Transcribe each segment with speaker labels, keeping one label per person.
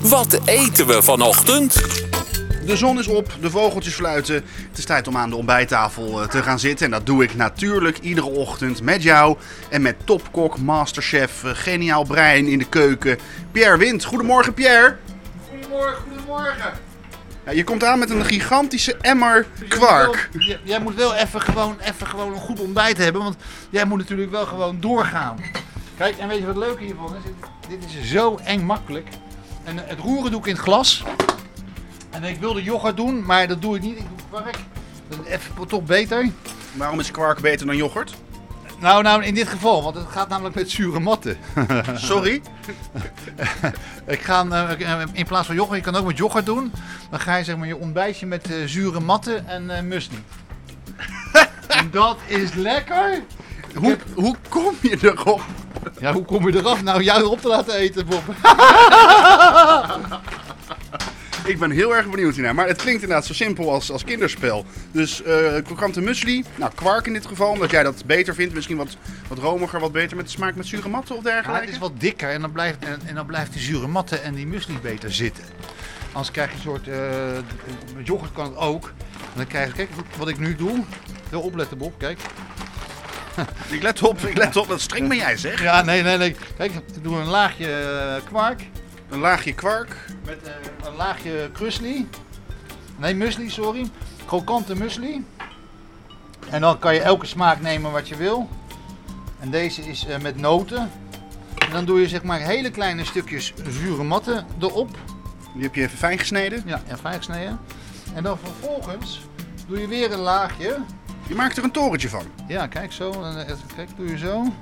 Speaker 1: Wat eten we vanochtend?
Speaker 2: De zon is op, de vogeltjes fluiten. Het is tijd om aan de ontbijttafel eh, te gaan zitten. En dat doe ik natuurlijk iedere ochtend met jou. En met topkok, masterchef, eh, geniaal brein in de keuken. Pierre Wind. Goedemorgen, Pierre.
Speaker 3: Goedemorgen, goedemorgen.
Speaker 2: Ja, je komt aan met een gigantische emmer kwark.
Speaker 3: Jij moet wel- j- Jij moet wel even gewoon, even gewoon een goed ontbijt hebben, want jij moet natuurlijk wel gewoon doorgaan. Kijk, en weet je wat leuk hiervan is? Dit dit is zo eng makkelijk. En eh, het roeren doe ik in het glas. En ik wilde yoghurt doen, maar dat doe ik niet. Ik doe kwark. Dat is even toch beter.
Speaker 2: Waarom is kwark beter dan yoghurt?
Speaker 3: Nou, nou, in dit geval, want het gaat namelijk met zure matten.
Speaker 2: Sorry.
Speaker 3: Ik ga, eh, eh, in plaats van yoghurt, je kan ook met yoghurt doen. Dan ga je zeg maar je ontbijtje met eh, zure matten en eh musli. en dat is lekker.
Speaker 2: Hoe, hoe kom je erop?
Speaker 3: Ja, hoe kom je eraf? Nou, jou erop te laten eten, Bob.
Speaker 2: Ik ben heel erg benieuwd hiernaar. Maar het klinkt inderdaad zo simpel als, als kinderspel. Dus eh krokante muesli, nou kwark in dit geval, omdat jij dat beter vindt. Misschien wat, wat romiger, wat beter met de smaak met zure matten of
Speaker 3: Ja,
Speaker 2: dergelijke.
Speaker 3: het is wat dikker en dan blijft, en, en dan blijft die zure matten en die musli beter zitten. Anders krijg je een soort, eh, met yoghurt kan het ook. En dan krijg je, kijk wat ik nu doe. Heel opletten, Bob, kijk.
Speaker 2: Ik let op, ik let op. Dat streng ben jij zeg.
Speaker 3: Ja, nee, nee, nee. Kijk, ik doe een laagje eh, kwark.
Speaker 2: Een laagje kwark.
Speaker 3: Met eh, een laagje krusli. Nee, musli, sorry. Krokante musli. En dan kan je elke smaak nemen wat je wil. En deze is eh, met noten. En dan doe je zeg maar hele kleine stukjes zure matten erop.
Speaker 2: Die heb je even fijn gesneden.
Speaker 3: Ja, en vijf sneden. En dan vervolgens doe je weer een laagje.
Speaker 2: Je maakt er een torentje van.
Speaker 3: Ja, kijk zo. En, eh, Kijk, doe je zo.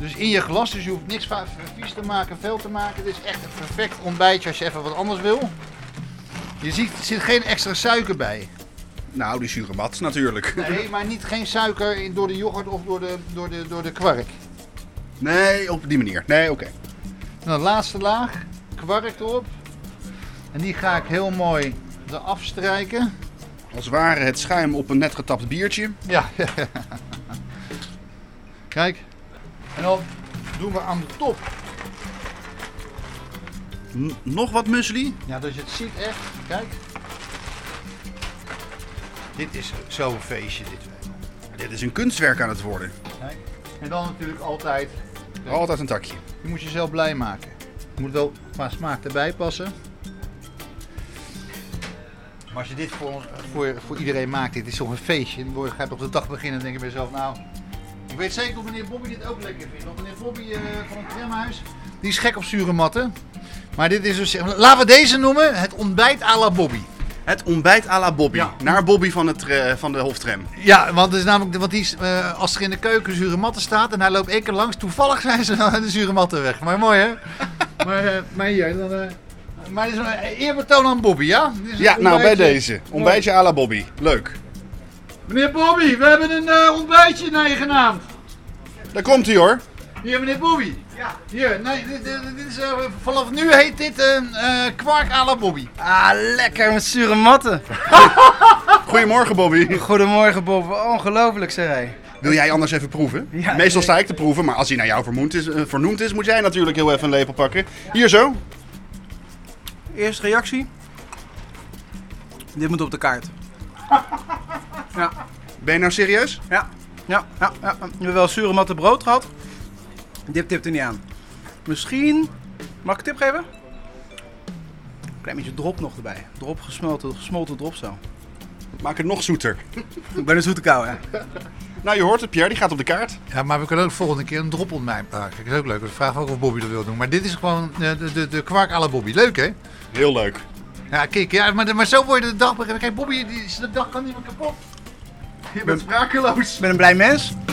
Speaker 3: Dus in je glas, dus je hoeft niks va- vies te maken, veel te maken. Dit is echt een perfect ontbijtje als je even wat anders wil. Je ziet, er zit geen extra suiker bij.
Speaker 2: Nou, die zure mat natuurlijk.
Speaker 3: Nee, maar niet geen suiker in- door de yoghurt of door de, door de, door de kwark.
Speaker 2: Nee, op die manier. Nee, oké.
Speaker 3: En dan laatste laag, kwark erop. En die ga ik heel mooi eraf strijken.
Speaker 2: Als ware het schuim op een net getapt biertje.
Speaker 3: Ja. Kijk. En dan doen we aan de top.
Speaker 2: N- nog wat muesli.
Speaker 3: Ja, dus het ziet echt. Kijk. Dit is zo'n feestje, dit.
Speaker 2: Dit is een kunstwerk aan het worden.
Speaker 3: Kijk. En dan natuurlijk altijd,
Speaker 2: Altijd een takje.
Speaker 3: je moet jezelf blij maken. Je moet wel qua smaak erbij passen. Maar als je dit voor, voor, voor iedereen maakt, dit is toch een feestje. Dan word- ga je toch de dag beginnen en denk je bij jezelf, nou... Ik weet zeker of meneer Bobby dit ook lekker vindt. Want meneer Bobby eh, van het tramhuis, die is gek op zure matten. Maar dit is dus... Laten we deze noemen, het ontbijt à la Bobby.
Speaker 2: Het ontbijt à la Bobby.
Speaker 3: Ja.
Speaker 2: Naar Bobby van, het, eh, van de Hoftram.
Speaker 3: Ja, want, het is namelijk, want die is, eh, als er in de keuken zure matten staat en hij loopt één keer langs, toevallig zijn ze dan de zure matten weg. Maar mooi hè? maar, eh, maar hier, dan. eh, maar dit is een eerbetoon aan Bobby, ja? Dit is een
Speaker 2: Ja, nou bij
Speaker 3: ontbijtje.
Speaker 2: deze. Ontbijtje à la Bobby. Leuk.
Speaker 3: Meneer Bobby, we hebben een eh, ontbijtje naar je genaamd.
Speaker 2: Daar komt hij hoor.
Speaker 3: Hier, meneer Bobby. Ja. Hier, nee, dit, dit- dit is, eh, vanaf nu heet dit een eh kwark à la Bobby.
Speaker 4: Ah, lekker met zure matten.
Speaker 2: Goedemorgen Bobby.
Speaker 4: Goedemorgen, Bob. Ongelooflijk, zei hij.
Speaker 2: Wil jij anders even proeven?
Speaker 4: Ja.
Speaker 2: Meestal sta ik te proeven, maar als hij naar jou vermoend is, eh, vernoemd is, moet jij natuurlijk heel even een lepel pakken. Hier zo.
Speaker 4: Eerste reactie? Dit moet op de kaart. Ja,
Speaker 2: Ben je nou serieus?
Speaker 4: ja, ja, ja. ja. We hebben wel zure matten brood gehad. Dit tipt er niet aan. Misschien... Mag ik een tip geven? Klein beetje drop nog erbij. Drop gesmolten, gesmolten drop zo.
Speaker 2: Maak het nog zoeter.
Speaker 4: Ik ben een zoete kou, hè?
Speaker 2: Nou, je hoort het, Pierre, die gaat op de kaart.
Speaker 3: Ja, maar we kunnen ook volgende keer een drop ontbijt maken. Dat is ook leuk. We vragen ook of Bobby dat wil doen. Maar dit is gewoon eh, de, de, de kwark à la Bobby. Leuk hè?
Speaker 2: Heel leuk.
Speaker 3: Ja, kijk, ja, maar, maar zo word je de dag beginnen. Kijk, Bobby, die, de dag kan niet meer kapot. Je bent sprakeloos.
Speaker 4: Ik ben een blij mens.